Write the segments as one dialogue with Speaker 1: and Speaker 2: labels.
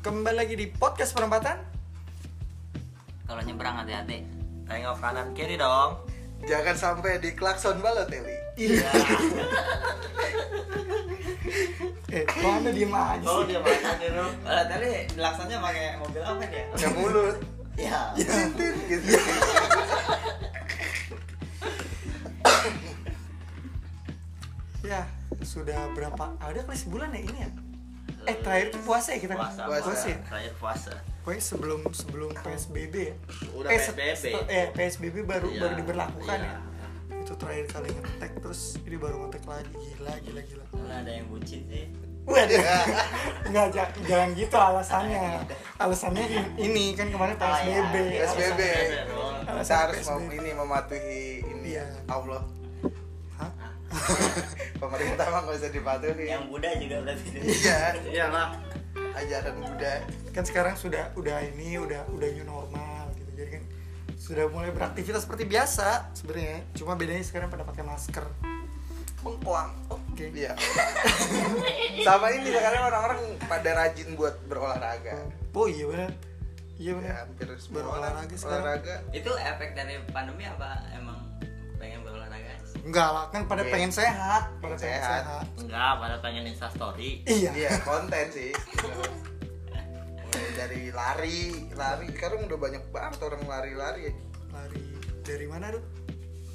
Speaker 1: Kembali lagi di podcast perempatan.
Speaker 2: Kalau nyebrang hati-hati.
Speaker 3: Tengok kanan kiri dong.
Speaker 4: Jangan sampai di klakson Balotelli.
Speaker 2: Iya.
Speaker 1: Eh, mana diem aja
Speaker 3: Kalau
Speaker 1: sih?
Speaker 3: dia makan dia dong.
Speaker 2: Kalau tadi laksanya pakai mobil apa dia?
Speaker 4: Ya mulut.
Speaker 2: Iya.
Speaker 4: Sintin gitu.
Speaker 1: Ya, sudah berapa? ah, Udah kali sebulan ya ini ya? Eh, terakhir tuh puasa ya kita?
Speaker 3: Puasa,
Speaker 4: Puasa.
Speaker 1: ya?
Speaker 3: Terakhir puasa.
Speaker 1: Pokoknya sebelum sebelum PSBB ya?
Speaker 3: Udah
Speaker 1: Eh, se-
Speaker 3: PSBB.
Speaker 1: se- Eh, PSBB baru
Speaker 3: Iya,
Speaker 1: baru diberlakukan
Speaker 3: iya.
Speaker 1: ya? Itu terakhir kali ngetek terus ini baru ngetek lagi gila gila gila.
Speaker 2: Karena ada yang bucin sih.
Speaker 1: Waduh. Enggak ja- jangan gitu
Speaker 3: Iya,
Speaker 1: alasannya. Alasannya i- ini kan kemarin
Speaker 3: Oh,
Speaker 1: PSBB.
Speaker 2: iya.
Speaker 4: PSBB. Kita
Speaker 1: Alasan
Speaker 4: harus mem-
Speaker 1: PSBB.
Speaker 4: ini mematuhi ini
Speaker 1: Iya.
Speaker 4: ya. Allah.
Speaker 1: Hah?
Speaker 4: Pemerintah mah nggak bisa dipatuhi.
Speaker 2: Yang Buddha juga berarti.
Speaker 4: Iya.
Speaker 3: Iyalah.
Speaker 4: Ajaran Buddha.
Speaker 1: kan sekarang sudah udah ini udah udah new normal gitu jadi kan sudah mulai beraktivitas seperti biasa sebenarnya cuma bedanya sekarang pada pakai masker
Speaker 4: Bengkoang.
Speaker 1: oke
Speaker 4: Iya. Sama ini sekarang orang-orang pada rajin buat berolahraga.
Speaker 1: oh iya benar iya benar
Speaker 4: Ya, hampir semua orang
Speaker 1: berolahraga sekarang
Speaker 4: olahraga.
Speaker 2: Itu efek dari pandemi apa emang pengen berolahraga?
Speaker 1: enggak lah kan pada
Speaker 4: Iya.
Speaker 1: pengen sehat pada
Speaker 4: Pengen
Speaker 1: pengen
Speaker 4: sehat.
Speaker 1: sehat,
Speaker 3: Enggak, pada pengen Insta story.
Speaker 1: iya
Speaker 4: Iya, konten sih. Mulai dari lari, lari. Sekarang udah banyak banget orang lari-lari
Speaker 1: lari dari mana tuh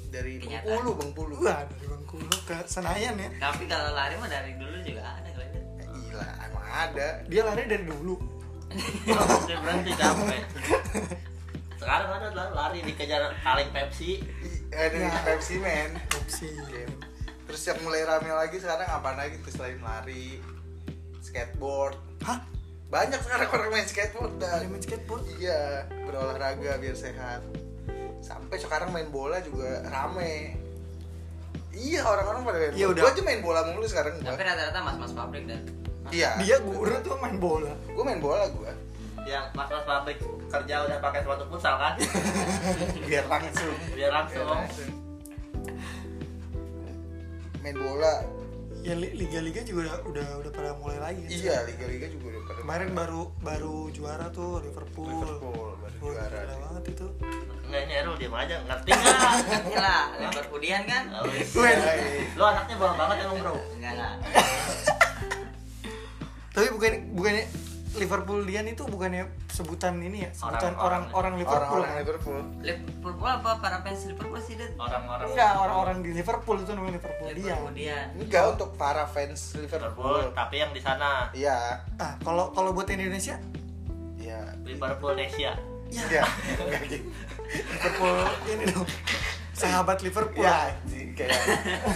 Speaker 4: dari
Speaker 2: Kenyataan.
Speaker 4: Bengkulu, Bengkulu.
Speaker 1: wah dari Bengkulu ke Senayan ya
Speaker 2: Tapi kalau lari mah dari dulu juga ada kali. ya.
Speaker 4: Ya, Gila, emang ada.
Speaker 1: dia lari dari dulu
Speaker 3: Dia berhenti capek. Sekarang ada lah lari dikejar kaleng Pepsi.
Speaker 4: I- Ada
Speaker 1: Ya.
Speaker 4: Pepsi Man.
Speaker 1: opsi
Speaker 4: Game. Terus yang mulai rame lagi sekarang apa lagi tuh selain lari, skateboard.
Speaker 1: hah
Speaker 4: Banyak sekarang orang main skateboard
Speaker 1: ada
Speaker 4: dan
Speaker 1: main skateboard
Speaker 4: iya berolahraga biar sehat. Sampai sekarang main bola juga rame. Iya orang-orang pada main
Speaker 1: Iya,
Speaker 4: bola.
Speaker 1: udah.
Speaker 4: Gua aja main bola mulu sekarang gua.
Speaker 2: Tapi rata-rata mas-mas pabrik dan
Speaker 4: Iya.
Speaker 1: dia guru tuh main bola
Speaker 4: Gue main bola gue.
Speaker 3: Yang Ya, mas-mas pabrik kerja udah pakai sepatu futsal kan?
Speaker 4: Biar langsung.
Speaker 3: Biar
Speaker 2: Iya,
Speaker 3: langsung.
Speaker 4: Main bola.
Speaker 1: ya li- liga-liga juga udah udah, udah pada mulai lagi kan,
Speaker 4: Iya, liga-liga juga udah pada
Speaker 1: kemarin baru baru juara tuh Liverpool.
Speaker 4: Liverpool baru
Speaker 1: Liverpool
Speaker 4: juara.
Speaker 1: gila banget itu.
Speaker 3: Nggak nyeru dia aja ngerti nggak?
Speaker 2: Gila, lebar kudian kan?
Speaker 3: Nggak wis.
Speaker 4: Iya,
Speaker 3: Lo anaknya bawah banget emang bro.
Speaker 2: Enggak lah.
Speaker 1: Tapi bukan bukannya Liverpool Dian itu bukannya sebutan ini ya, sebutan
Speaker 3: Orang-orang.
Speaker 1: orang-orang Liverpool.
Speaker 4: Orang-orang
Speaker 1: kan?
Speaker 4: Liverpool.
Speaker 2: Liverpool apa para fans Liverpool sih Dit?
Speaker 3: Orang-orang.
Speaker 1: Enggak, orang-orang di Liverpool itu namanya Liverpool Iya. Dian.
Speaker 2: Liverpool Budian.
Speaker 4: Enggak untuk para fans
Speaker 3: Liverpool,
Speaker 4: Liverpool.
Speaker 3: tapi yang di sana
Speaker 4: Iya,
Speaker 1: Ah, kalau kalau buat Indonesia
Speaker 4: iya.
Speaker 3: Liverpool Nesia.
Speaker 4: Iya. Enggak gitu.
Speaker 1: Liverpool ini dong. Sahabat Liverpool.
Speaker 4: Ya, anjing, kayak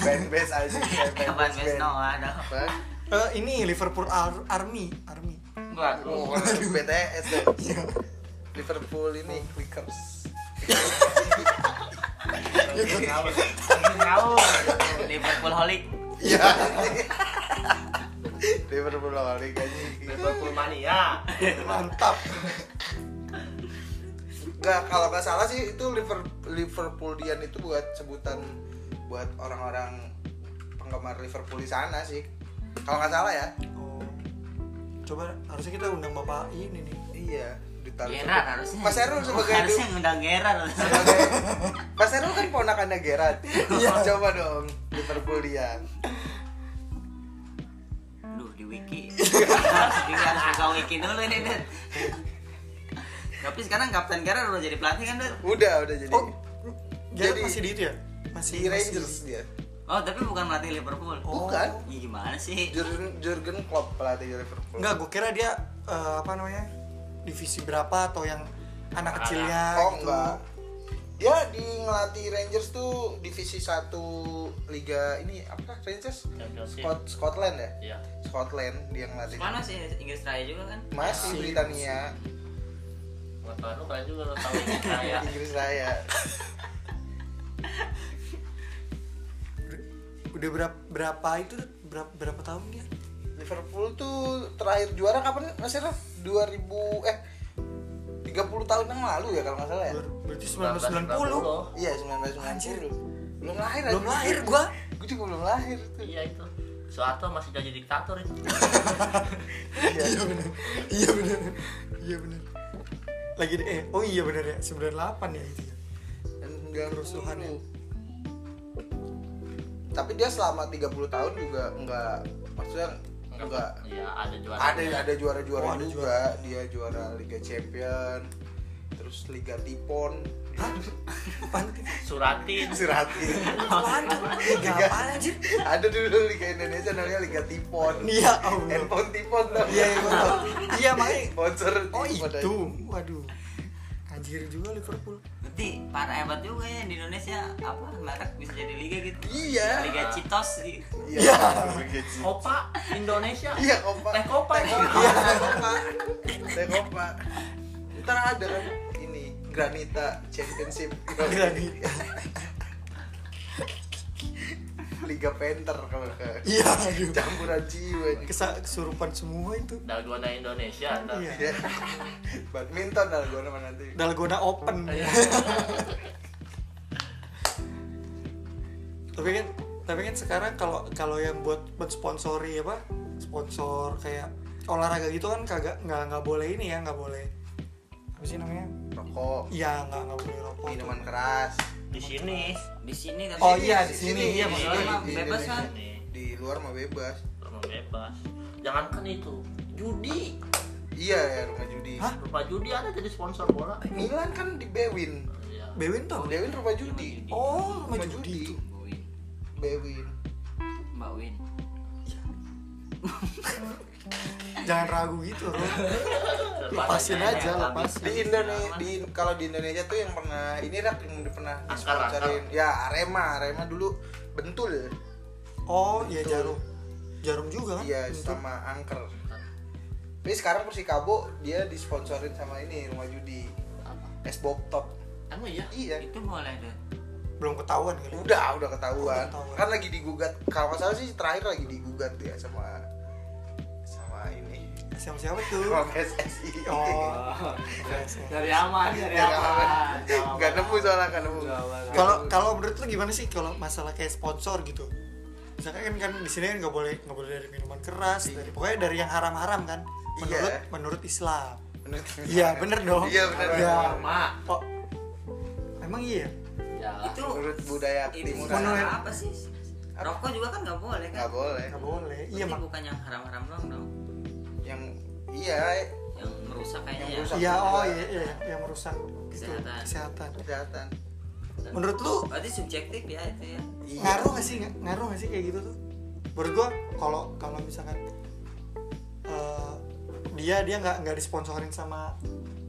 Speaker 4: band base aja kayak band
Speaker 2: Kapan Mas
Speaker 4: band.
Speaker 2: Noah dong?
Speaker 4: Bang,
Speaker 1: Eh, ini Liverpool Ar- Army, Army.
Speaker 3: Buat
Speaker 4: oh, orang BTS deh. Liverpool ini Clickers.
Speaker 3: ngawur. Ngawur.
Speaker 2: Liverpool Holic.
Speaker 4: Iya. Liverpool lagi anjing.
Speaker 3: Liverpool mania.
Speaker 4: Iya.
Speaker 1: Mantap.
Speaker 4: Nggak, kalau nggak salah sih itu Liverpool Liverpoolian itu buat sebutan buat orang-orang penggemar Liverpool di sana sih. Kalau nggak salah ya.
Speaker 1: Oh. Coba harusnya kita undang Bapak ini nih.
Speaker 4: Iya, ditaruh.
Speaker 2: Gerard harusnya. Oh,
Speaker 4: Mas Erul sebagai
Speaker 2: harusnya ngundang Gerard.
Speaker 4: sebagai Mas Erul kan ponakannya Gerard. Iya, Coba dong Liverpoolian.
Speaker 2: Duh di wiki. harus di harus buka wiki dulu ini Dit. Tapi sekarang Kapten Gerard udah jadi pelatih kan Dit?
Speaker 4: Udah, udah jadi.
Speaker 1: Oh, Gerard
Speaker 4: Jadi-
Speaker 1: masih di itu ya? Masih
Speaker 4: si Rangers dia.
Speaker 2: Oh tapi bukan pelatih Liverpool.
Speaker 1: Oh.
Speaker 4: Bukan.
Speaker 2: Iya gimana sih?
Speaker 4: Jurgen Jurgen Klopp pelatih Liverpool.
Speaker 1: Enggak, gue kira dia eh, apa namanya divisi berapa atau yang anak kecilnya
Speaker 4: Oh
Speaker 1: gitu.
Speaker 4: enggak. Ya di ngelatih Rangers tuh divisi 1 Liga ini apa Rangers?
Speaker 3: Championship.
Speaker 4: Scot- Scotland ya?
Speaker 3: Iya.
Speaker 4: Scotland dia ngelatih.
Speaker 2: Mana sih Inggris Raya juga kan?
Speaker 4: Masih
Speaker 1: Masih.
Speaker 4: Britania,
Speaker 3: Motor lu keren juga lu tahu ini ya. saya.
Speaker 4: Inggris Raya.
Speaker 1: Udah berapa, berapa itu berapa, berapa tahun dia?
Speaker 4: Liverpool tuh terakhir juara kapan Mas Ira? 2000 eh 30 tahun yang lalu ya kalau nggak salah ya.
Speaker 1: Ber- Berarti 1990.
Speaker 4: Iya 1990.
Speaker 1: Anjir.
Speaker 4: Belum lahir
Speaker 1: Belum lahir gua.
Speaker 4: Gue juga belum lahir tuh.
Speaker 3: Iya itu. Soeharto masih jadi diktator itu.
Speaker 1: iya benar iya benar iya benar lagi di- eh oh iya benar ya 98 ya itu ya
Speaker 4: enggak
Speaker 1: Kerusuhan ya.
Speaker 4: tapi dia selama 30 tahun juga enggak maksudnya enggak
Speaker 3: Iya, ada juara.
Speaker 4: ada ada juara-juara
Speaker 1: Oh, ada
Speaker 4: juga dia juara Liga Champion terus Liga Tipon
Speaker 1: hah apaan itu
Speaker 3: Suratin.
Speaker 4: Sirati
Speaker 1: apaan tuh liga apaan anjir
Speaker 4: ada dulu Liga Indonesia namanya Liga Tipon
Speaker 1: iya Allah
Speaker 4: handphone Tipon tau
Speaker 1: iya iya gua tahu. iya makanya
Speaker 4: sponsor
Speaker 1: oh
Speaker 4: Tipon aja.
Speaker 1: itu waduh anjir juga Liverpool
Speaker 2: Berarti para hebat juga ya di Indonesia apa merek bisa jadi liga gitu.
Speaker 4: iya
Speaker 2: Liga Citos gitu.
Speaker 4: iya
Speaker 3: Kopa Indonesia.
Speaker 4: iya kompak
Speaker 3: Teh Kopa nih.
Speaker 4: Iya, Tengok Pak. Ntar ada kan ini Granita Championship.
Speaker 1: Granita.
Speaker 4: Liga Penter kalau ke
Speaker 1: iya aduh
Speaker 4: campuran jiwa ini.
Speaker 1: Kesa kesurupan semua itu
Speaker 3: Dalgona Indonesia. ntar.
Speaker 1: iya
Speaker 4: Ya. Badminton lah gue nama nanti.
Speaker 1: Dalgona Open
Speaker 3: Iya.
Speaker 1: tapi kan tapi kan sekarang kalau kalau yang buat buat sponsori apa sponsor kayak olahraga gitu kan kagak nggak nggak boleh ini ya nggak boleh apa sih namanya
Speaker 4: Rokok,
Speaker 1: iya nggak nggak boleh rokok
Speaker 4: minuman kan. keras
Speaker 3: Di sini.
Speaker 2: Di sini kan tapi
Speaker 1: oh
Speaker 2: di
Speaker 1: iya di
Speaker 4: Di
Speaker 1: sini
Speaker 4: sini,
Speaker 1: iya
Speaker 2: sini
Speaker 1: maksudnya
Speaker 2: mah
Speaker 4: di
Speaker 2: bebas
Speaker 4: Indonesia.
Speaker 2: kan.
Speaker 3: Ini
Speaker 4: di luar mah bebas.
Speaker 3: rumah bebas. Jangankan itu, judi.
Speaker 4: Iya ya rumah judi.
Speaker 1: Hah?
Speaker 3: Rumah judi ada jadi sponsor bola.
Speaker 4: Milan kan di Bewin.
Speaker 3: Iya.
Speaker 1: Bewin tuh
Speaker 4: Bewin rumah judi.
Speaker 1: oh rumah
Speaker 4: Rumah
Speaker 1: judi
Speaker 4: judi.
Speaker 1: itu
Speaker 2: Mbak Win.
Speaker 4: Bewin.
Speaker 2: Mbak Win.
Speaker 1: jangan ragu gitu loh lepasin
Speaker 3: Lepasannya
Speaker 4: Nah,
Speaker 1: aja
Speaker 4: ya,
Speaker 3: yang habis.
Speaker 1: lepasin
Speaker 4: di Indonesia di kalau di Indonesia tuh yang pernah ini rak yang pernah
Speaker 3: Akar,
Speaker 4: disponsorin ya Arema Arema dulu Bentul
Speaker 1: oh iya
Speaker 4: Betul.
Speaker 1: jarum jarum juga kan
Speaker 4: iya
Speaker 1: Bentuk.
Speaker 4: sama angker tapi sekarang Persikabo dia disponsorin sama ini rumah judi
Speaker 3: Apa?
Speaker 4: es bob top
Speaker 3: Emang iya?
Speaker 4: iya
Speaker 2: Itu boleh tuh.
Speaker 1: belum ketahuan kali
Speaker 4: udah udah ketahuan
Speaker 1: Udah ketahuan.
Speaker 4: kan lagi digugat kalau nggak salah sih terakhir lagi digugat ya sama sama ini
Speaker 1: siapa siapa tuh
Speaker 4: sama PSSI
Speaker 1: oh
Speaker 2: Dari aman, dari
Speaker 4: Ya, nggak
Speaker 2: aman.
Speaker 4: apa-apa. nggak nemu soalnya nggak nemu Nggak
Speaker 1: kalau
Speaker 4: nemu.
Speaker 1: kalau menurut lu gimana sih kalau masalah kayak sponsor gitu misalkan kan, kan di sini kan nggak boleh nggak boleh dari minuman keras
Speaker 4: Iya.
Speaker 1: dari pokoknya dari yang haram-haram kan menurut
Speaker 4: Iya.
Speaker 1: menurut Islam
Speaker 4: Bener.
Speaker 1: iya bener dong
Speaker 4: Iya, bener.
Speaker 1: Iya.
Speaker 3: Sama.
Speaker 1: Oh, emang iya
Speaker 3: Ya.
Speaker 2: Itu
Speaker 4: menurut budaya
Speaker 2: itu
Speaker 4: timur
Speaker 1: Menurut-
Speaker 2: apa sih? Rokok juga kan nggak boleh kan?
Speaker 4: nggak boleh
Speaker 1: nggak boleh
Speaker 2: Berarti
Speaker 1: iya mak
Speaker 2: bukan yang haram-haram doang dong.
Speaker 4: yang iya
Speaker 2: Yang merusak
Speaker 4: Yang
Speaker 2: kayaknya ya.
Speaker 4: merusak.
Speaker 1: iya oh iya, iya yang- yang merusak gitu
Speaker 2: Kesehatan.
Speaker 1: kesehatan
Speaker 4: kesehatan
Speaker 1: menurut lu
Speaker 2: Berarti subjektif ya itu ya.
Speaker 4: iya
Speaker 1: ngaruh nggak sih nggak- ngaruh nggak sih kayak gitu tuh menurut gua kalau kalau misalkan eh, dia dia nggak nggak disponsorin sama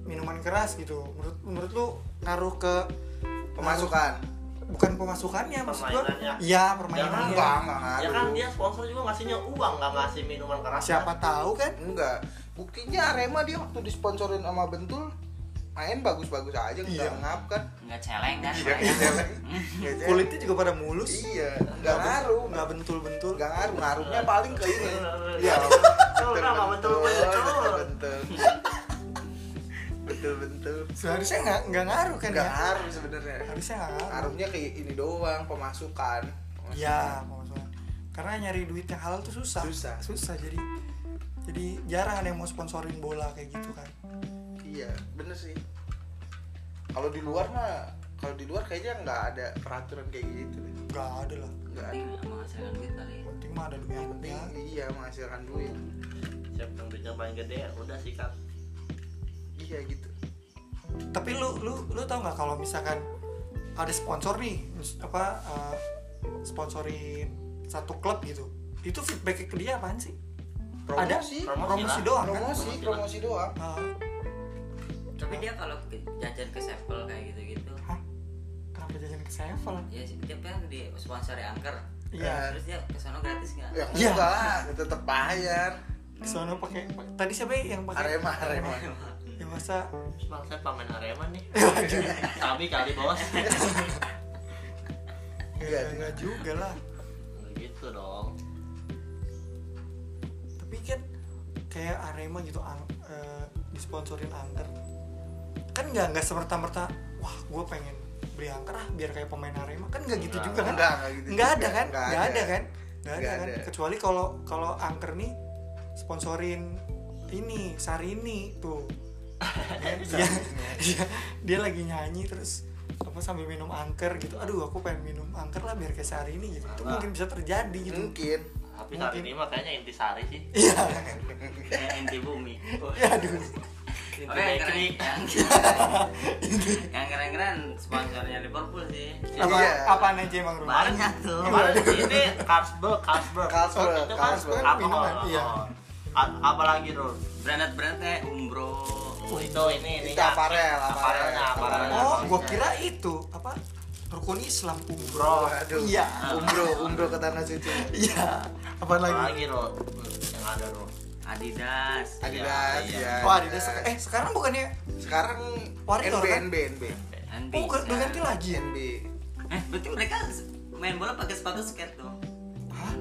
Speaker 1: minuman keras gitu menurut menurut lu ngaruh ke
Speaker 4: pemasukan
Speaker 1: bukan pemasukannya maksud gua
Speaker 3: Permainannya.
Speaker 1: iya
Speaker 3: Jangan,
Speaker 1: permainannya
Speaker 4: enggak enggak
Speaker 3: Ya
Speaker 4: ngaruh
Speaker 3: kan dia sponsor juga ngasihnya uang, nggak ngasih minuman keras.
Speaker 1: siapa tahu kan
Speaker 4: enggak buktinya Arema dia waktu disponsorin sama Bentul main bagus-bagus aja nggak
Speaker 1: Iya.
Speaker 4: ngap kan
Speaker 2: Nggak celeng kan?
Speaker 4: iya
Speaker 2: mereka.
Speaker 4: Nggak jelek.
Speaker 1: kulitnya juga pada mulus
Speaker 4: iya nggak Iya. ngaruh
Speaker 1: nggak bentul-bentul
Speaker 4: nggak ngaruh ngaruhnya paling ke ini
Speaker 3: Iya. Betul,
Speaker 4: Bentul,
Speaker 3: sama betul, betul.
Speaker 4: bentul betul bentul
Speaker 1: seharusnya nggak nggak ngaruh kan
Speaker 4: nggak
Speaker 1: ya
Speaker 4: ngaruh sebenarnya
Speaker 1: harusnya nggak ngaruh
Speaker 4: ngaruhnya kayak ini doang pemasukan
Speaker 1: iya pemasukan karena nyari duit yang halal tuh susah
Speaker 4: Susah.
Speaker 1: susah jadi jadi jarang ada yang mau sponsorin bola kayak gitu kan
Speaker 4: Iya, bener sih. Kalau di luar mah, kalau di luar kayaknya nggak ada peraturan kayak gitu deh.
Speaker 1: nggak ada lah
Speaker 4: Nggak ada.
Speaker 2: Penting nggak menghasilkan duit kali. ya.
Speaker 1: Yang penting ya. mah ada
Speaker 4: Yang penting
Speaker 1: duitnya
Speaker 4: iya menghasilkan duit.
Speaker 3: Siapa yang duitnya paling gede, udah sikat.
Speaker 4: Iya gitu.
Speaker 1: tapi lu lu lu tau nggak kalau misalkan ada sponsor nih mis- apa eh, sponsorin satu klub gitu itu feedback ke dia apaan sih ada
Speaker 4: Promosi,
Speaker 3: Promosi
Speaker 1: promosi
Speaker 3: lah.
Speaker 1: doang kan
Speaker 4: promosi, promosi doang.
Speaker 1: Eh,
Speaker 2: Tapi dia kalau ke- jajan ke Sevel kayak gitu-gitu,
Speaker 1: hah kenapa jajan ke Sevel
Speaker 2: ya sih, dia kan di sponsori angker.
Speaker 1: iya
Speaker 2: Terus dia ke sono gratis nggak?
Speaker 4: Kan? Ya
Speaker 1: Iya.
Speaker 4: enggak lah, tetep bayar.
Speaker 1: soalnya pakai tadi siapa yang pakai
Speaker 4: Arema, Arema.
Speaker 1: yang masa
Speaker 3: Terus malah saya pamen Arema nih. Tapi kali bos.
Speaker 4: Iya,
Speaker 1: nggak nggak juga lah
Speaker 3: Nggak gitu dong.
Speaker 1: tapi kan kayak Arema gitu ang, eh, disponsorin angker kan nggak nggak semerta merta wah gue pengen beli angker ah biar kayak pemain Arema kan nggak gitu
Speaker 3: Nggak,
Speaker 1: juga kan
Speaker 4: Enggak, enggak gitu.
Speaker 1: nggak
Speaker 4: juga.
Speaker 1: ada kan
Speaker 4: Nggak
Speaker 1: nggak ada. kan nggak ada
Speaker 4: Nggak
Speaker 1: kan
Speaker 4: ada.
Speaker 1: kecuali kalau kalau angker nih sponsorin ini Sarini tuh
Speaker 4: Iya,
Speaker 1: dia, dia dia lagi nyanyi terus apa sambil minum angker gitu aduh aku pengen minum angker lah biar kayak Sarini gitu itu
Speaker 3: Alah.
Speaker 1: mungkin bisa terjadi gitu
Speaker 4: Nah. mungkin
Speaker 3: Tapi saat
Speaker 1: Mungkin.
Speaker 3: ini mah kayaknya inti sari sih.
Speaker 1: iya
Speaker 3: Kayak inti bumi.
Speaker 1: ya aduh
Speaker 2: Oke,
Speaker 3: Inti
Speaker 2: yang keren,
Speaker 3: bakery.
Speaker 2: yang, kan? yang keren-keren sponsornya Liverpool sih.
Speaker 1: apa
Speaker 4: Iya.
Speaker 1: apaan aja emang rumah
Speaker 2: Banyak tuh.
Speaker 3: Kemarin ini Carlsberg, Carlsberg.
Speaker 4: Carlsberg,
Speaker 3: Itu kan
Speaker 4: Carlsberg
Speaker 1: kan
Speaker 3: alkohol.
Speaker 1: minuman, iya.
Speaker 3: alkohol. A- Apalagi Rul?
Speaker 2: Brand-brandnya Umbro.
Speaker 3: Oh, itu ini ini.
Speaker 4: Itu aparel, aparel.
Speaker 3: Aparelnya, aparelnya.
Speaker 1: oh
Speaker 3: aparelnya.
Speaker 1: gua kira itu apa rukun Islam
Speaker 4: bro
Speaker 1: umroh
Speaker 4: aduh
Speaker 1: iya
Speaker 4: umbro umbro ke tanah suci
Speaker 1: iya apaan lagi
Speaker 3: Apalagi Rul? Hmm, Yang ada Rul.
Speaker 2: Adidas.
Speaker 4: Adidas
Speaker 2: Iya,
Speaker 4: ya
Speaker 1: oh Adidas eh sekarang bukannya
Speaker 4: sekarang
Speaker 1: Warrior,
Speaker 4: NB
Speaker 1: kan?
Speaker 4: NB NB
Speaker 2: Andi.
Speaker 1: oh udah ganti lagi ya
Speaker 4: NB
Speaker 2: Eh, berarti mereka main bola pakai sepatu skate dong.
Speaker 1: Hah?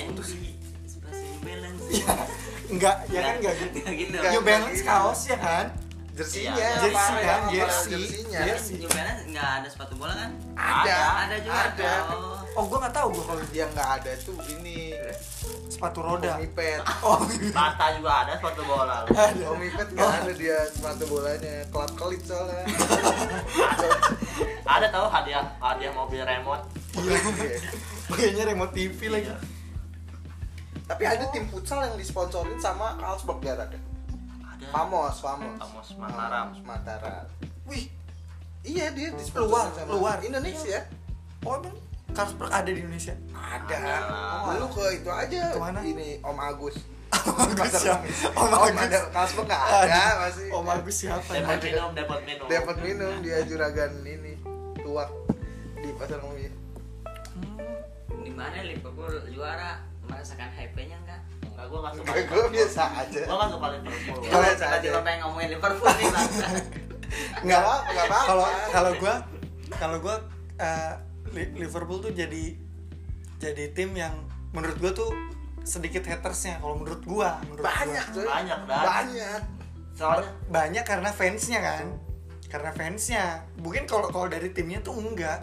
Speaker 2: Andy. Sepatu New Balance.
Speaker 1: Enggak, ya Iya. kan enggak gitu.
Speaker 2: Nggak gitu.
Speaker 4: Nggak.
Speaker 1: New Balance kaos ya kan?
Speaker 4: jersinya
Speaker 3: Iya,
Speaker 1: jersey
Speaker 4: aparel,
Speaker 1: kan,
Speaker 4: aparel
Speaker 1: jersey.
Speaker 4: jersinya
Speaker 1: Jersey.
Speaker 2: Iya New Balance nggak ada sepatu bola kan?
Speaker 4: gitu. Ada.
Speaker 2: Ada juga.
Speaker 4: Ada.
Speaker 2: Oh.
Speaker 1: Oh, gua nggak tahu gua kalau
Speaker 4: dia nggak ada tuh ini
Speaker 1: sepatu roda.
Speaker 4: omipet
Speaker 1: Oh,
Speaker 3: Bata juga ada sepatu bola. Rul.
Speaker 1: ada.
Speaker 4: omipet nggak ada dia sepatu bolanya kelap kelip soalnya
Speaker 3: Ada tahu hadiah hadiah mobil remote.
Speaker 1: Iya. Pakainya remote TV lagi.
Speaker 3: Iya.
Speaker 4: tapi ada tim futsal yang disponsorin sama Carlsberg gak ada
Speaker 3: Ada.
Speaker 4: Pamos Pamos
Speaker 3: Pamos Mataram.
Speaker 4: Pamos Mataram
Speaker 1: Wih,
Speaker 4: iya dia disponsorin
Speaker 1: Luar,
Speaker 4: sama
Speaker 1: luar.
Speaker 4: Indonesia
Speaker 1: oh emang Carlsberg ada di Indonesia.
Speaker 4: ada Oh,
Speaker 3: Ada.
Speaker 4: lu ke itu aja
Speaker 1: Kemana?
Speaker 4: ini Om Agus
Speaker 1: Om Agus
Speaker 4: Pasar
Speaker 1: ya.
Speaker 4: Kemis.
Speaker 1: Om
Speaker 4: Om
Speaker 1: Agus.
Speaker 4: ada Carlsberg nggak ada masih
Speaker 1: Om Agus siapa? ya?
Speaker 3: Dapat minum, dapat minum.
Speaker 4: dapat minum dia juragan ini tuak di pasar Kemis
Speaker 2: Di mana Liverpool juara? Merasakan hype-nya enggak?
Speaker 3: Enggak gua enggak suka.
Speaker 4: Gak, gue biasa aja
Speaker 3: Gua enggak suka Liverpool.
Speaker 4: Gua
Speaker 2: Kalau
Speaker 4: lihat aja.
Speaker 2: tiba-tiba pengen ngomongin Liverpool nih bangsa.
Speaker 4: nggak apa nggak apa
Speaker 1: Kalau kalau gua kalau gua eh, Li- Liverpool tuh jadi jadi tim yang menurut gua tuh sedikit hatersnya kalau menurut gua menurut gua.
Speaker 4: banyak coy
Speaker 3: Banyak, Dan.
Speaker 4: banyak
Speaker 3: Soalnya
Speaker 1: banyak karena fansnya kan karena fansnya mungkin kalau kalau dari timnya tuh enggak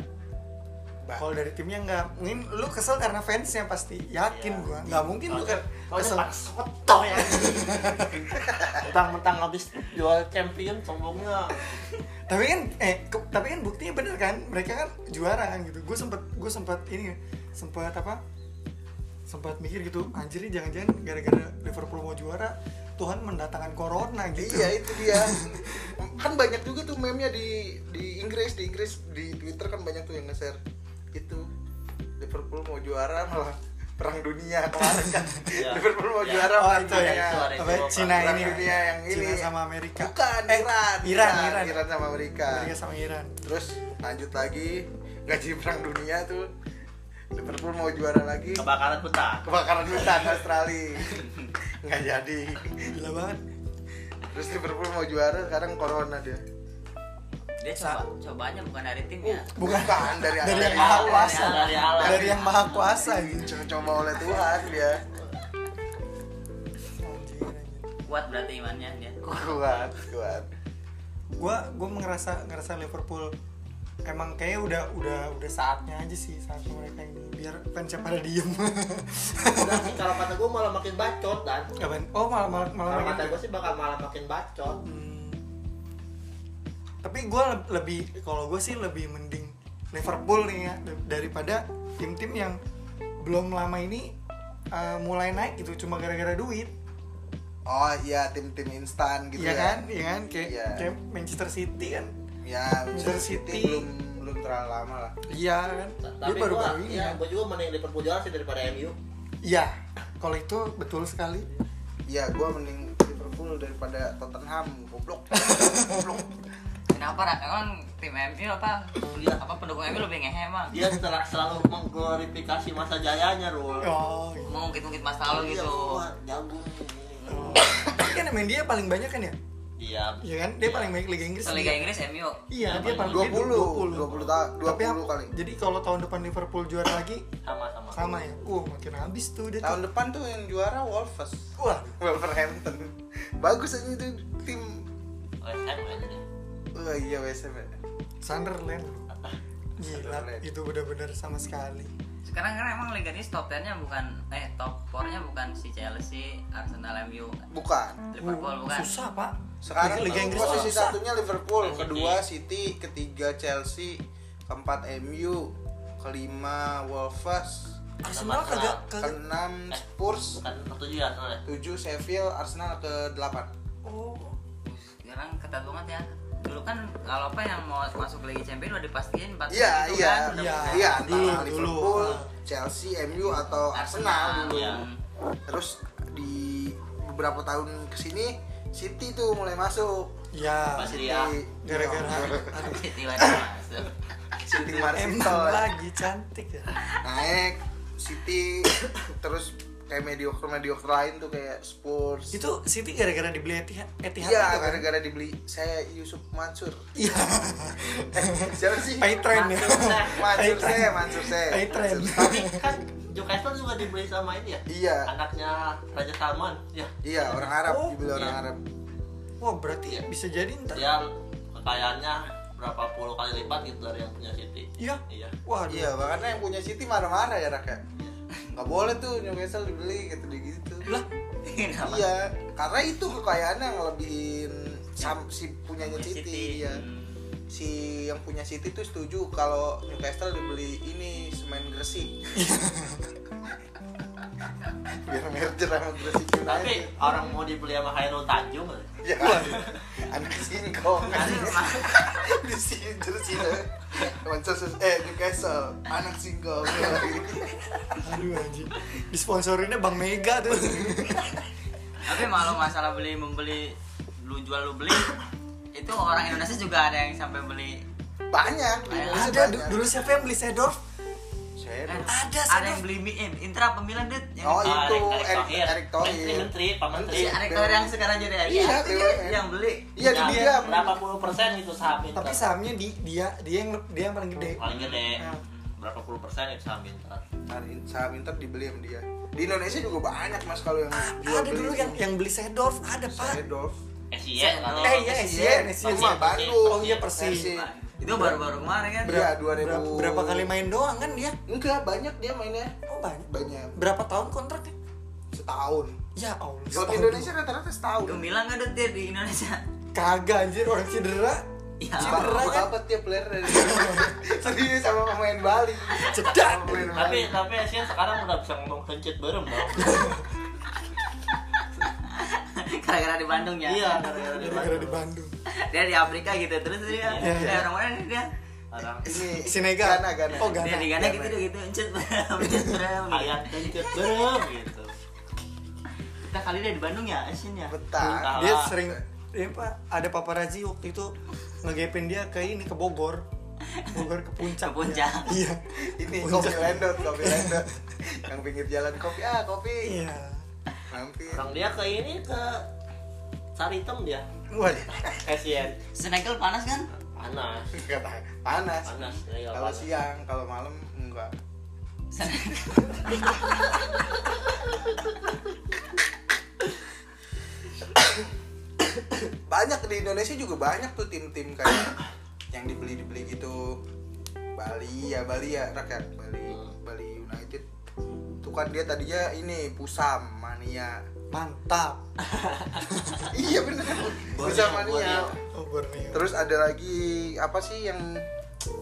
Speaker 4: Ba-
Speaker 1: kalau dari timnya enggak mungkin lu kesel karena fansnya pasti yakin
Speaker 3: Iya.
Speaker 1: gua nggak mungkin lu kan
Speaker 3: Soalnya
Speaker 1: kesel
Speaker 3: Pak Soto ya Mentang-mentang habis jual champion sombongnya
Speaker 1: tapi kan eh ke- tapi kan buktinya bener kan mereka kan juara kan gitu gue sempet gue sempet ini sempet apa sempat mikir gitu anjir ini jangan-jangan gara-gara Liverpool mau juara Tuhan mendatangkan corona gitu
Speaker 4: iya itu dia kan banyak juga tuh meme-nya di di Inggris di Inggris di Twitter kan banyak tuh yang nge-share itu Liverpool mau juara malah perang dunia kemarin kan
Speaker 3: Iya.
Speaker 4: Liverpool mau
Speaker 3: Iya.
Speaker 4: juara
Speaker 1: Oh
Speaker 4: perang
Speaker 1: itu ya,
Speaker 4: dunia.
Speaker 3: Itu ada
Speaker 1: apa
Speaker 3: yang
Speaker 1: Cina
Speaker 4: Perang
Speaker 1: ini,
Speaker 4: dunia yang ini
Speaker 1: Cina sama Amerika.
Speaker 4: bukan
Speaker 1: Eh,
Speaker 4: Iran
Speaker 1: Iran, Iran,
Speaker 4: Iran sama Amerika
Speaker 1: Amerika sama Iran.
Speaker 4: terus lanjut lagi gaji perang dunia tuh Liverpool mau juara lagi
Speaker 3: Kebakaran hutan
Speaker 4: kebakaran hutan Australia nggak jadi
Speaker 1: Gila banget.
Speaker 4: terus Liverpool mau juara sekarang corona dia
Speaker 2: Dia coba cobanya bukan dari tim ya.
Speaker 1: Bukan.
Speaker 4: Bukan, dari ya,
Speaker 1: dari
Speaker 4: Allah.
Speaker 1: yang maha
Speaker 2: Dari
Speaker 1: kuasa.
Speaker 2: Allah,
Speaker 3: dari Allah.
Speaker 1: Dari yang maha kuasa gitu, ini.
Speaker 4: Coba coba oleh Tuhan dia
Speaker 1: Anjir, anjir.
Speaker 2: Kuat berarti imannya dia.
Speaker 4: kuat kuat
Speaker 1: gua gua ngerasa ngerasa Liverpool emang kayaknya udah udah udah saatnya aja sih saatnya mereka ini biar fansnya pada diem
Speaker 3: Udah sih kalau kata gue malah makin bacot dan
Speaker 1: Kapan? oh malah malah malah
Speaker 3: Kalau
Speaker 1: makin-
Speaker 3: kata gue sih bakal malah makin bacot
Speaker 1: Hmm. tapi gua le- lebih kalau gue sih lebih mending Liverpool nih ya da- daripada tim-tim yang belum lama ini uh, mulai naik gitu cuma gara-gara duit
Speaker 4: oh iya tim-tim instan gitu
Speaker 1: Iya
Speaker 4: ya
Speaker 1: kan iya kan kayak
Speaker 4: Iya.
Speaker 1: kayak Manchester City kan
Speaker 4: ya
Speaker 1: Manchester
Speaker 4: Manchester City
Speaker 1: City.
Speaker 4: belum belum terlalu lama lah
Speaker 1: iya kan dia
Speaker 3: Tapi gue
Speaker 1: baru-baru ini
Speaker 3: ya,
Speaker 1: kan
Speaker 3: gue juga mending Liverpool juara sih daripada MU
Speaker 1: iya kalau itu betul sekali
Speaker 4: ya gue mending Liverpool daripada Tottenham goblok goblok
Speaker 2: Kenapa Ra? kan tim MU apa? Apa pendukung MU lebih ngehe emang.
Speaker 3: Dia sel- selalu mengglorifikasi masa jayanya Rul
Speaker 1: oh gitu.
Speaker 2: Mau ngungkit-ngungkit masa lalu gitu.
Speaker 3: Iya, gua jago
Speaker 1: Oh. kan main dia paling banyak kan ya
Speaker 3: Iya
Speaker 1: iya kan dia paling banyak Liga Inggris
Speaker 2: Se Liga
Speaker 1: dia.
Speaker 2: Inggris MU.
Speaker 1: iya dia paling
Speaker 4: 20 20
Speaker 1: 20
Speaker 4: ta- 20
Speaker 1: Tapi apa-
Speaker 4: kali
Speaker 1: jadi kalau tahun depan Liverpool juara lagi
Speaker 3: Sama-sama
Speaker 1: sama ya uh makin habis tuh dia
Speaker 4: tahun
Speaker 1: tuh
Speaker 4: depan tuh yang juara Wolves
Speaker 1: wah
Speaker 4: Wolverhampton bagus aja itu tim
Speaker 3: OSM aja deh
Speaker 4: oh iya WSM ya
Speaker 1: Sunderland gila
Speaker 4: Sunderland.
Speaker 1: itu benar-benar sama sekali
Speaker 2: sekarang kan emang Liga ini top 10-nya bukan eh top 4-nya bukan si Chelsea, Arsenal, MU,
Speaker 4: bukan
Speaker 2: Liverpool
Speaker 4: Oh,
Speaker 2: bukan.
Speaker 1: susah pak
Speaker 4: sekarang
Speaker 1: Liga Inggris
Speaker 4: posisi
Speaker 1: susah.
Speaker 4: satunya Liverpool
Speaker 3: City.
Speaker 4: kedua City ketiga Chelsea keempat MU kelima Wolves
Speaker 1: Arsenal kagak kagak
Speaker 4: keenam Spurs
Speaker 3: bukan ketujuh ya Arsenal ya?
Speaker 4: tujuh Sheffield Arsenal ke delapan
Speaker 1: oh
Speaker 2: Sekarang ketat banget ya. Dulu kan kalau apa yang mau masuk Liga Champions udah dipastiin 4
Speaker 4: iya
Speaker 2: itu
Speaker 4: iya
Speaker 2: kan.
Speaker 1: Iya,
Speaker 4: iya
Speaker 1: dulu,
Speaker 4: antara Liverpool
Speaker 1: dulu.
Speaker 4: Chelsea MU atau Oh, Arsenal dulu
Speaker 3: iya.
Speaker 4: terus di beberapa tahun kesini City tuh mulai masuk
Speaker 1: ya
Speaker 3: Pasti.
Speaker 4: City
Speaker 3: Iya.
Speaker 1: gara-gara
Speaker 4: Iya.
Speaker 1: aduh
Speaker 2: City wajib masuk.
Speaker 4: City
Speaker 1: emang
Speaker 4: Marcel
Speaker 1: lagi cantik ya
Speaker 4: naik City terus kayak mediocre mediocre lain tuh kayak Spurs
Speaker 1: itu City gara-gara dibeli Etihad Etihad itu
Speaker 4: iya
Speaker 1: kan?
Speaker 4: gara-gara dibeli saya Yusuf Mansur
Speaker 1: iya
Speaker 4: eh siapa sih
Speaker 1: Paytrain ya
Speaker 3: Mansur Seh.
Speaker 4: Mansur
Speaker 1: Paytrain.
Speaker 4: saya Mansur saya
Speaker 1: Paytrain.
Speaker 4: Mansur Seh.
Speaker 3: Tapi kan Newcastle juga dibeli sama ini ya?
Speaker 4: iya
Speaker 3: Anaknya Raja Salman. Ya,
Speaker 4: iya orang Arab
Speaker 1: Oh,
Speaker 4: dibeli orang
Speaker 3: iya.
Speaker 4: Arab
Speaker 1: wah berarti ya bisa jadi ntar
Speaker 4: Iya.
Speaker 3: dia kekayaannya berapa puluh kali lipat gitu dari yang punya City.
Speaker 1: iya
Speaker 3: Iya.
Speaker 1: wah
Speaker 4: iya makanya yang punya City marah-marah ya Rak ya nggak boleh tuh Newcastle dibeli gitu gitu
Speaker 1: lah
Speaker 2: Kenapa?
Speaker 4: iya karena itu kekayaannya ngelebihin sam- si punyanya
Speaker 2: Punya
Speaker 4: City,
Speaker 2: City.
Speaker 4: iya.
Speaker 2: Hmm.
Speaker 4: si yang punya City tuh setuju kalau Newcastle dibeli ini semen Gresik. Biar merger sama Gresik
Speaker 3: Tapi
Speaker 4: United.
Speaker 3: orang mau dibeli sama Hairul Tanjung. eh.
Speaker 4: Ya, anak singkong di sini terus sini. Manchester eh Newcastle anak singkong.
Speaker 1: aduh anjing disponsorinnya Bang Mega tuh
Speaker 2: Tapi malu masalah beli membeli lu jual lu beli itu orang Indonesia juga ada yang sampai beli
Speaker 4: banyak di Indonesia
Speaker 1: ada du-
Speaker 4: banyak.
Speaker 1: dulu siapa yang beli Sedorf
Speaker 2: Eh,
Speaker 4: Saya dulu.
Speaker 1: Ada,
Speaker 2: ada
Speaker 1: Sadaf.
Speaker 2: yang beli mie eh, Intra pemilihan dit Yang-
Speaker 4: Oh
Speaker 3: Ah,
Speaker 4: itu
Speaker 3: Erick
Speaker 4: Erick
Speaker 3: Thohir.
Speaker 4: Erick Thohir.
Speaker 3: Menteri, menteri, Pak Menteri.
Speaker 2: si Erick Thohir yang sekarang jadi
Speaker 4: Iya,
Speaker 2: Iya,
Speaker 4: BUMN.
Speaker 2: yang beli
Speaker 4: Iya di
Speaker 3: Nah,
Speaker 4: dia.
Speaker 3: Berapa puluh persen itu saham Inter?
Speaker 1: tapi sahamnya di dia dia yang dia yang paling gede
Speaker 3: paling gede
Speaker 1: Nah.
Speaker 3: berapa puluh persen itu saham Inter?
Speaker 4: Saham In- Saham Inter dibeli sama dia. Di Indonesia juga banyak mas kalau yang
Speaker 1: Ah,
Speaker 4: jual
Speaker 1: ada
Speaker 4: beli
Speaker 1: dulu
Speaker 4: itu.
Speaker 1: yang yang beli Sedorf ada pak
Speaker 4: Sedorf.
Speaker 3: SIE kalau
Speaker 1: eh iya Sien Sien
Speaker 4: Sama Bandung.
Speaker 1: Oh, iya, Persis.
Speaker 2: Nah, itu baru-baru kemarin kan
Speaker 4: Iya, 2000.
Speaker 1: berapa, berapa kali main doang kan dia
Speaker 4: Enggak, banyak dia mainnya.
Speaker 1: oh banyak
Speaker 4: Banyak.
Speaker 1: berapa tahun kontraknya
Speaker 4: Setahun.
Speaker 1: ya Allah
Speaker 4: Kalau di
Speaker 1: setahun
Speaker 4: Indonesia rata-rata setahun.
Speaker 2: Lu bilang gak Dit, dia kan, ya, di Indonesia
Speaker 1: dulu. kagak anjir orang cedera
Speaker 2: Iya.
Speaker 4: Apa
Speaker 1: cedera kan
Speaker 4: apa tiap player dari Serius sama pemain Bali.
Speaker 1: Cedak.
Speaker 4: Sama pemain
Speaker 3: Tapi
Speaker 4: Bali.
Speaker 3: tapi SIE sekarang udah bisa ngomong kencit bareng dong.
Speaker 2: Gara-gara di Bandung ya
Speaker 3: Iya, gara-gara di
Speaker 1: gara-gara di
Speaker 3: Bandung.
Speaker 1: Bandung
Speaker 2: Dia di Afrika gitu Terus dia
Speaker 1: Iya, iya.
Speaker 2: Eh orang mana nih dia
Speaker 3: Orang
Speaker 4: Ini
Speaker 1: Senegal
Speaker 4: Gana, Gana.
Speaker 1: oh Gana
Speaker 2: Dia di Ghana gitu gitu Encet bram, encet bram, gitu.
Speaker 3: ayat kencit bareng gitu.
Speaker 2: Kita kali dia di Bandung ya Asian ya
Speaker 4: Betah.
Speaker 1: dia
Speaker 3: Salah.
Speaker 1: sering ya pak ada paparazzi waktu itu ngegepin dia ke ini ke Bogor Bogor ke puncak
Speaker 2: Ke puncak.
Speaker 1: iya
Speaker 4: Ini
Speaker 1: Puncak.
Speaker 4: kopi lendot, kopi lendot. yang pinggir jalan kopi ah kopi.
Speaker 1: iya
Speaker 4: Mampir.
Speaker 3: Orang dia ke ini ke Saritem dia.
Speaker 1: waduh
Speaker 3: SIE
Speaker 2: Senegal panas kan
Speaker 3: panas.
Speaker 4: Enggak tahan. panas.
Speaker 3: Panas, ya,
Speaker 4: Kalau
Speaker 3: panas.
Speaker 4: siang, kalau malam enggak.
Speaker 2: Senegal
Speaker 4: banyak di Indonesia juga banyak tuh tim-tim kayak yang dibeli-dibeli gitu Bali ya Bali ya rakyat Bali
Speaker 3: Hmm.
Speaker 4: Bali United tuh kan dia tadinya ini Pusam Mania
Speaker 1: mantap
Speaker 4: iya bener
Speaker 3: Borneo,
Speaker 4: Pusam Mania
Speaker 3: Borneo.
Speaker 1: oh Borneo
Speaker 4: terus ada lagi apa sih yang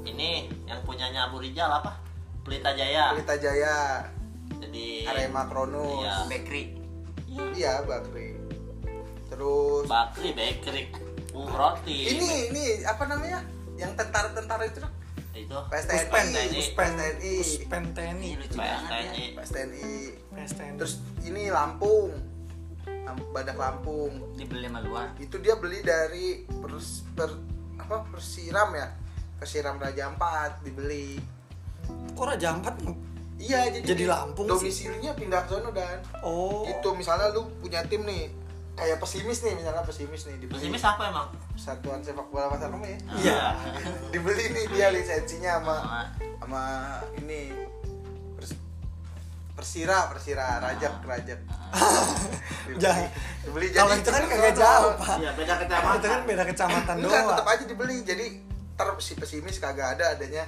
Speaker 3: Ini yang punyanya Abu Rijal apa? Pelita Jaya.
Speaker 4: Pelita Jaya
Speaker 3: Jadi
Speaker 4: Arema Kronos
Speaker 3: Iya.
Speaker 2: Bakery
Speaker 4: iya Bakri terus
Speaker 3: Bakri Bakery. Uh, roti.
Speaker 4: ini ini apa namanya yang tentara-tentara itu Rak?
Speaker 3: itu
Speaker 4: PSTNI
Speaker 1: Puspen.
Speaker 4: PSTNI
Speaker 1: Pen TNI
Speaker 2: Ini lucu banget ya
Speaker 3: PSTNI.
Speaker 4: PSTNI
Speaker 1: Pes TNI.
Speaker 4: terus ini Lampung Lam- Badak Lampung
Speaker 2: Dibeli sama luar
Speaker 4: itu dia beli dari pers per- apa persiram ya persiram Raja Ampat dibeli
Speaker 1: kok Raja Ampat
Speaker 4: iya jadi
Speaker 1: Jadi
Speaker 4: di-
Speaker 1: Lampung sih.
Speaker 4: domisilinya pindah ke sono dan
Speaker 1: oh
Speaker 4: itu misalnya lu punya tim nih kayak pesimis nih misalnya pesimis nih dibeli
Speaker 3: Pesimis apa emang?
Speaker 4: satuan sepak bola pasar Rebo ya
Speaker 1: iya
Speaker 4: dibeli nih dia lisensinya sama
Speaker 2: Sama.
Speaker 4: sama ini Pers- persira persira rajak rajak Dibeli-
Speaker 1: Ah. Jangan.
Speaker 4: dibeli
Speaker 1: kalau
Speaker 4: jadi
Speaker 1: itu kan
Speaker 4: tim
Speaker 1: kagak
Speaker 4: nasional.
Speaker 1: jauh pak kan
Speaker 3: Iya, beda
Speaker 1: Kalau
Speaker 3: kecamatan.
Speaker 1: itu kan beda kecamatan
Speaker 4: enggak
Speaker 1: doang
Speaker 4: tetap aja dibeli jadi ter si pesimis kagak ada adanya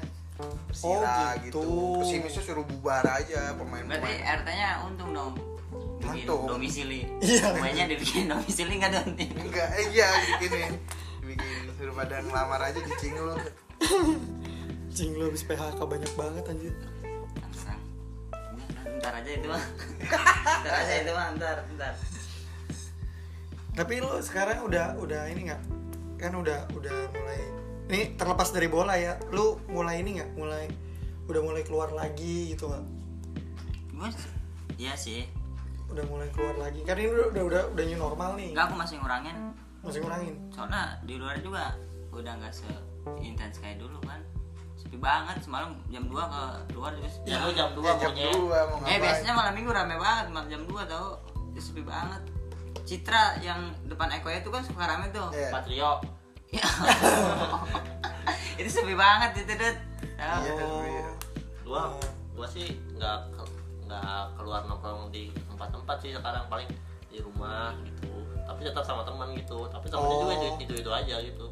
Speaker 4: Persira
Speaker 1: Oh, gitu.
Speaker 4: gitu. Pesimisnya suruh bubar aja
Speaker 2: Berarti
Speaker 4: pemain-pemain.
Speaker 2: RT-nya untung dong. Bikin
Speaker 4: Untung.
Speaker 2: domisili.
Speaker 1: Iya.
Speaker 2: Mainnya dibikin domisili nggak dong?
Speaker 4: Enggak, eh, iya bikin bikin suruh pada ngelamar aja di Cingul.
Speaker 1: Cing lu habis PHK banyak banget anjir.
Speaker 2: Langsung. Ntar aja itu mah. Ntar aja itu mah, ntar, ntar.
Speaker 1: Tapi lu sekarang udah udah ini nggak? Kan udah udah mulai ini terlepas dari bola ya. Lu mulai ini nggak? Mulai udah mulai keluar lagi gitu nggak?
Speaker 2: Gue Iya sih.
Speaker 1: Udah mulai keluar lagi. Kan ini udah udah udah, udah new normal nih.
Speaker 2: Enggak aku masih ngurangin.
Speaker 1: Masih ngurangin.
Speaker 2: Soalnya di luar juga udah nggak seintens kayak dulu kan. Sepi banget semalam jam 2 ke luar terus.
Speaker 3: Ya lu jam 2
Speaker 4: Ya, jam
Speaker 3: maunya.
Speaker 4: 2 mau
Speaker 2: Eh
Speaker 4: ngapain?
Speaker 2: biasanya malam minggu rame banget malam jam 2 tau Itu sepi banget Citra yang depan Eko itu kan suka rame tuh
Speaker 4: Iya.
Speaker 3: Patrio.
Speaker 2: Ya. Itu sepi banget itu Dut Tau.
Speaker 4: Iya, iya.
Speaker 3: Gua gua sih nggak ke- nggak keluar nongkrong di tempat-tempat sih sekarang paling di rumah gitu. Tapi tetap sama teman gitu. Tapi temennya
Speaker 1: Oh.
Speaker 3: juga itu, itu itu aja gitu.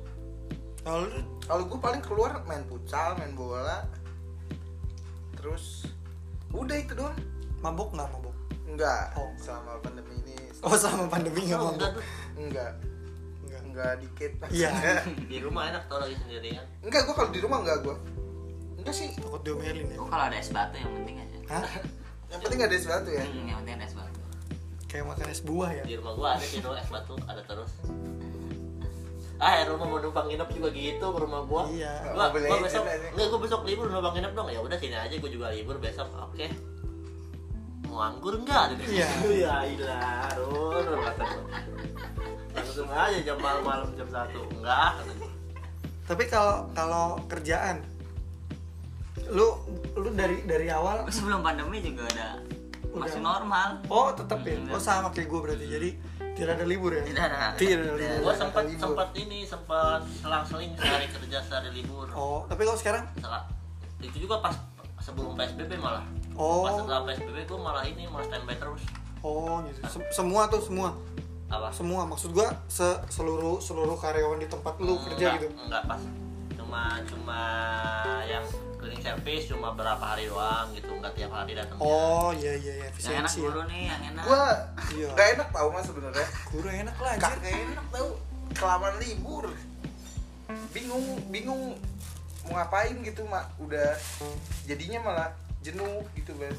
Speaker 1: Kalau lu
Speaker 4: Kalau gue paling keluar main futsal, main bola. Terus udah itu doang.
Speaker 1: mabok nggak mabok?
Speaker 4: Enggak,
Speaker 1: Oh.
Speaker 4: selama pandemi ini
Speaker 1: Oh selama pandemi nggak
Speaker 3: Oh, enggak
Speaker 1: mabok?
Speaker 3: tuh.
Speaker 4: enggak,
Speaker 1: Enggak.
Speaker 4: enggak dikit.
Speaker 1: Iya.
Speaker 3: Di rumah enak tau lagi sendirian.
Speaker 4: enggak, gue kalau di rumah enggak gue. Enggak sih.
Speaker 1: Takut diomelin ya.
Speaker 2: Gua kalau ada es batu yang penting aja
Speaker 1: Hah?
Speaker 4: Yang penting ada sesuatu ya.
Speaker 2: Hmm, Yang penting ada es batu
Speaker 1: Kayak makan es buah ya?
Speaker 3: Di rumah gua ada Cino es batu ada terus. Ah, rumah mau numpang nginep juga gitu ke rumah gua.
Speaker 1: Iya.
Speaker 3: Gua,
Speaker 4: Mobile
Speaker 3: gua
Speaker 4: Legends
Speaker 3: besok,
Speaker 4: aja.
Speaker 3: enggak gua besok libur numpang nginep dong. Ya udah sini aja gua juga libur besok. Oke. Mau anggur enggak?
Speaker 1: Iya.
Speaker 3: ya ilah, Run, Run, kata gua. Langsung aja jam malam-malam jam 1. Enggak. kata gua.
Speaker 1: Tapi kalau kalau kerjaan lu lu dari dari awal
Speaker 2: Gua Sebelum pandemi juga udah Masih
Speaker 1: Udah.
Speaker 2: normal
Speaker 1: Oh tetap ya, oh sama kayak gue berarti jadi tidak ada libur ya?
Speaker 2: Tidak ada.
Speaker 1: Tidak ada
Speaker 2: Tidak
Speaker 1: libur.
Speaker 3: Gua sempat
Speaker 4: libur.
Speaker 3: sempat ini sempat selang-seling sehari kerja sehari libur.
Speaker 1: Oh tapi kalau sekarang
Speaker 3: Setelah- itu juga pas sebelum PSBB malah.
Speaker 1: Oh.
Speaker 3: Pas setelah PSBB gua malah ini malah standby terus.
Speaker 1: oh gitu Sem- semua tuh semua
Speaker 3: Apa?
Speaker 1: semua maksud gue se- seluruh seluruh karyawan di tempat lu kerja
Speaker 3: Hmm, enggak,
Speaker 1: gitu.
Speaker 3: enggak pas cuma cuma yang cleaning service cuma berapa hari doang gitu nggak tiap hari datang
Speaker 1: Oh iya iya iya
Speaker 2: Yang enak
Speaker 1: efisiensi.
Speaker 2: dulu
Speaker 1: ya.
Speaker 2: nih yang enak
Speaker 4: Gue
Speaker 1: Iya.
Speaker 4: enggak enak tau mas sebenarnya.
Speaker 1: Kurang enak lah anjir.
Speaker 4: Kagak enak tau. Kelamaan libur. Bingung, bingung mau ngapain gitu mak. Udah jadinya malah jenuh gitu bas.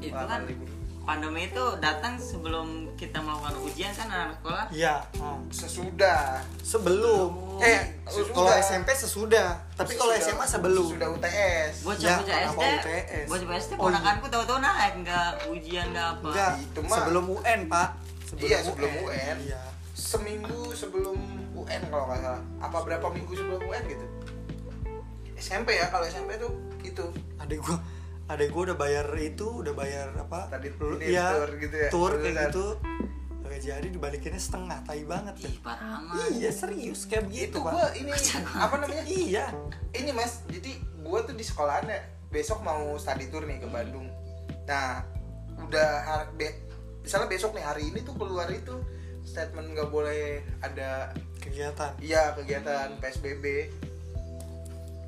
Speaker 2: Itu
Speaker 4: Kelamaan
Speaker 2: kan pandemi itu datang sebelum kita melakukan ujian kan anak sekolah
Speaker 1: Iya. ah.
Speaker 4: Sesudah.
Speaker 1: Sebelum.
Speaker 4: Eh,
Speaker 2: Iya.
Speaker 1: kalau
Speaker 4: sesudah.
Speaker 1: SMP sesudah, tapi kalau
Speaker 4: Sesudah-
Speaker 1: SMA sebelum.
Speaker 4: Sesudah UTS.
Speaker 2: Bocah
Speaker 1: Ya,
Speaker 2: bocah
Speaker 1: kenapa
Speaker 2: SD,
Speaker 1: UTS?
Speaker 2: bocah bocah SD
Speaker 1: Oh, iya.
Speaker 2: ponakanku tahu-tahu naik nggak ujian nggak apa.
Speaker 1: Enggak,
Speaker 4: Itu mah-
Speaker 1: sebelum UN, Pak.
Speaker 4: Iya, sebelum UN.
Speaker 1: Iya.
Speaker 4: seminggu sebelum UN kalau nggak salah apa berapa minggu sebelum UN gitu SMP ya kalau SMP tuh itu
Speaker 1: adek gua adek gua udah bayar itu udah bayar apa
Speaker 4: Tadi
Speaker 1: Lu-
Speaker 4: ini tour gitu ya,
Speaker 1: tour kayak
Speaker 4: lulusan.
Speaker 1: gitu Kagak jadi dibalikinnya setengah tai banget ya
Speaker 2: Ih parah amat.
Speaker 1: iya serius kayak
Speaker 4: itu
Speaker 1: gitu
Speaker 4: gua
Speaker 1: pak
Speaker 4: ini apa namanya
Speaker 1: iya
Speaker 4: ini mas jadi gua tuh di sekolahan ya besok mau study tour nih ke
Speaker 2: Hmm.
Speaker 4: Bandung nah udah har- be- misalnya besok nih hari ini tuh keluar itu statement nggak boleh ada
Speaker 1: kegiatan
Speaker 4: Iya
Speaker 2: Hmm.
Speaker 4: kegiatan PSBB.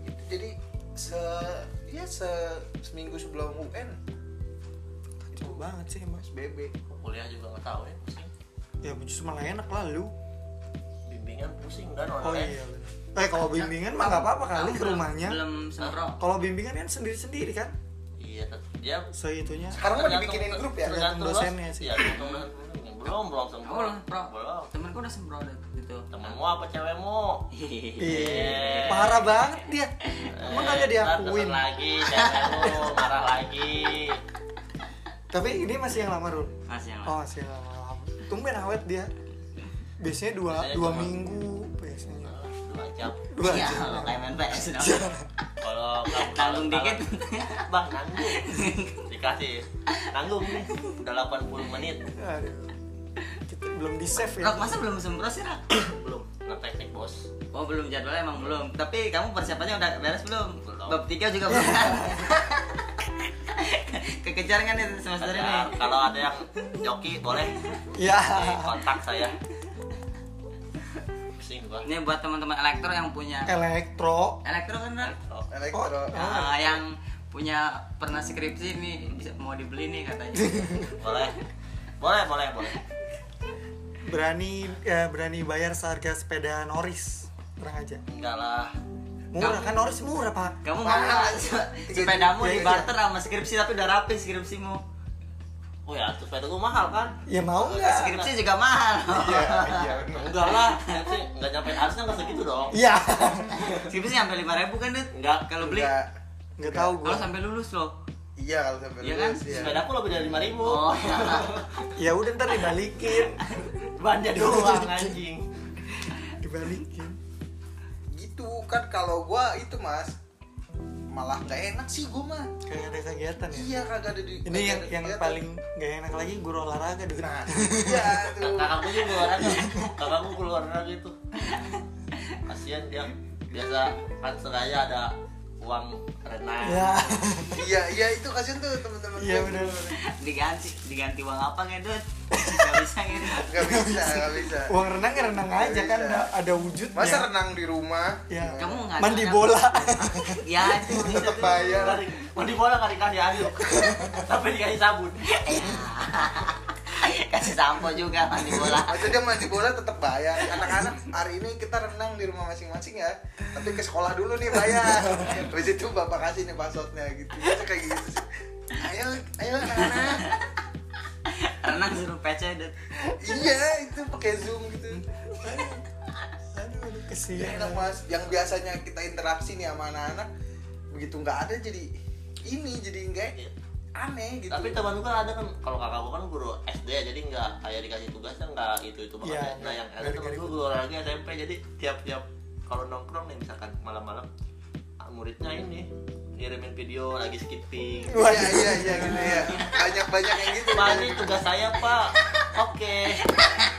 Speaker 4: Gitu. Jadi se ya se seminggu sebelum UN
Speaker 1: Kacau banget sih mas
Speaker 4: PSBB.
Speaker 3: kuliah juga nggak tahu ya pusing
Speaker 1: ya justru malah enak lah lu
Speaker 3: bimbingan pusing kan dan
Speaker 1: oh
Speaker 3: online
Speaker 1: iya bener. eh kalau bimbingan mah nggak apa-apa kali ke
Speaker 2: Belum-
Speaker 1: rumahnya
Speaker 2: Belum semprot.
Speaker 1: kalau bimbingan kan sendiri-sendiri kan
Speaker 3: iya tet- dia
Speaker 1: seitunya
Speaker 4: Sekarang mah
Speaker 3: tergantung-
Speaker 4: dibikinin grup ya.
Speaker 1: Tergantung dosennya
Speaker 3: los-
Speaker 1: sih.
Speaker 3: iya tergantung dosen. belum belum sembuh
Speaker 2: Kamu belum semprot.
Speaker 3: belum
Speaker 2: Temenku udah semprot gitu.
Speaker 3: temenmu apa cewekmu
Speaker 1: Iya. parah banget dia emang kagak
Speaker 3: Eh,
Speaker 1: diakuin
Speaker 3: ntar lagi cewekmu marah lagi
Speaker 1: tapi ini masih yang lama Rul
Speaker 2: Masih yang
Speaker 1: Oh sih lama-lama. Tumben awet dia. Biasanya dua
Speaker 3: Biasanya
Speaker 1: dua
Speaker 3: cuma-
Speaker 1: minggu biasanya.
Speaker 3: dua jam
Speaker 1: Dua
Speaker 2: Iya,
Speaker 1: jam.
Speaker 2: kalau kayak main PS dong.
Speaker 3: kalau kalau-
Speaker 2: Tanggung
Speaker 3: kalau-
Speaker 2: dikit.
Speaker 3: bang nanggung dikasih nanggung nih udah 80 menit
Speaker 1: Aduh. Kita belum di save ya.
Speaker 2: Rok masa belum semprot sih Rok?
Speaker 3: belum ngeteknik bos
Speaker 2: Oh belum jadwalnya emang belum. Tapi kamu persiapannya udah beres belum?
Speaker 3: Belum.
Speaker 2: Bab tiga juga belum. Kekejar kan itu semester ini.
Speaker 3: Ada- kalau ada
Speaker 1: Iya.
Speaker 3: yang joki boleh
Speaker 1: Ya.
Speaker 3: kontak saya pusing gua
Speaker 2: Ini buat teman-teman elektro yang punya
Speaker 1: elektro
Speaker 2: elektro kan Ran?
Speaker 3: Oh,
Speaker 4: elektro
Speaker 1: Oh.
Speaker 2: Ah, yang punya pernah skripsi nih bisa mau dibeli nih katanya.
Speaker 3: boleh boleh boleh boleh
Speaker 1: berani eh, berani bayar seharga sepeda Norris terang aja
Speaker 3: enggak lah
Speaker 1: murah kan Norris murah pak
Speaker 2: Kamu mau
Speaker 4: Mahal.
Speaker 2: nggak
Speaker 4: Tiga-
Speaker 2: sepedamu
Speaker 4: tiga-
Speaker 2: di barter sama skripsi tapi udah rapi skripsimu.
Speaker 3: oh ya terus sepeda gua mahal kan
Speaker 1: ya mau nggak
Speaker 2: Skripsi juga mahal.
Speaker 4: iya iya bener.
Speaker 3: enggak lah sih enggak nyampe harusnya enggak segitu dong
Speaker 1: iya
Speaker 2: skripsi sampai lima ribu kan Dut?
Speaker 3: Nggak.
Speaker 2: Kalau beli,
Speaker 4: Enggak.
Speaker 1: nggak tahu
Speaker 2: kalau
Speaker 1: gue
Speaker 2: sampai lulus loh.
Speaker 4: iya kalau sampai
Speaker 2: Iya
Speaker 4: lulus,
Speaker 2: kan?
Speaker 4: iya.
Speaker 3: sepeda aku lebih dari lima ribu
Speaker 2: Oh, iya.
Speaker 1: ya udah ntar dibalikin
Speaker 3: belanja doang anjing
Speaker 1: dibalikin
Speaker 4: gitu kan kalau gua itu mas malah nggak enak sih gua mah
Speaker 1: kayak ada kegiatan ya
Speaker 4: iya kagak ada di
Speaker 1: ini
Speaker 4: kagak
Speaker 1: yang
Speaker 4: ada
Speaker 1: yang
Speaker 4: kegiatan.
Speaker 1: paling gak enak lagi guru olahraga dulu
Speaker 4: nah iya tuh
Speaker 3: kakakku juga olahraga kakakku keluar olahraga itu kasian dia biasa kan seraya ada uang renang
Speaker 1: ya
Speaker 4: iya iya itu kasian tuh teman-teman
Speaker 1: iya
Speaker 4: gua.
Speaker 1: benar
Speaker 2: diganti diganti uang apa nggak Dut? Nggak bisa gitu.
Speaker 4: nggak bisa nggak bisa
Speaker 1: uang renang ya renang
Speaker 4: Nggak
Speaker 1: aja kan
Speaker 4: bisa.
Speaker 1: ada, ada wujudnya
Speaker 4: masa renang di rumah
Speaker 1: ya
Speaker 2: Kamu nggak
Speaker 1: mandi
Speaker 2: ada-
Speaker 1: bola
Speaker 2: Ya itu itu,
Speaker 4: tetap
Speaker 2: itu.
Speaker 4: bayar
Speaker 3: Tarik. mau di bola nggak dikasih aduk tapi dikasih sabun
Speaker 2: Kasih sampo juga mandi bola.
Speaker 4: Maksudnya dia mandi bola tetap bayar. Anak-anak hari ini kita renang di rumah masing-masing ya. Tapi ke sekolah dulu nih bayar. Habis itu bapak kasih nih passwordnya gitu. Biasa kayak gitu sih. Ayo, ayo anak-anak.
Speaker 2: Renang suruh PC Dut.
Speaker 4: Iya, itu pakai Zoom gitu.
Speaker 1: aduh aduh
Speaker 4: Ya,
Speaker 1: kesian
Speaker 4: enak mas. Yang biasanya kita interaksi nih sama anak-anak, begitu nggak ada jadi ini jadi enggak aneh gitu.
Speaker 3: tapi teman gua ada kan kalau kakak gua kan guru SD ya, jadi nggak kayak dikasih tugasnya nggak itu itu banget
Speaker 1: Iya,
Speaker 3: ya. nah yang ada
Speaker 1: dari-
Speaker 3: teman
Speaker 1: dari-
Speaker 3: gua guru olahraga SMP jadi tiap tiap kalau nongkrong nih misalkan malam-malam ah, muridnya ini ngirimin video lagi skipping
Speaker 4: Iya, iya, iya gitu ya. Banyak-banyak yang gitu.
Speaker 3: Pak, ini tugas saya pak Oke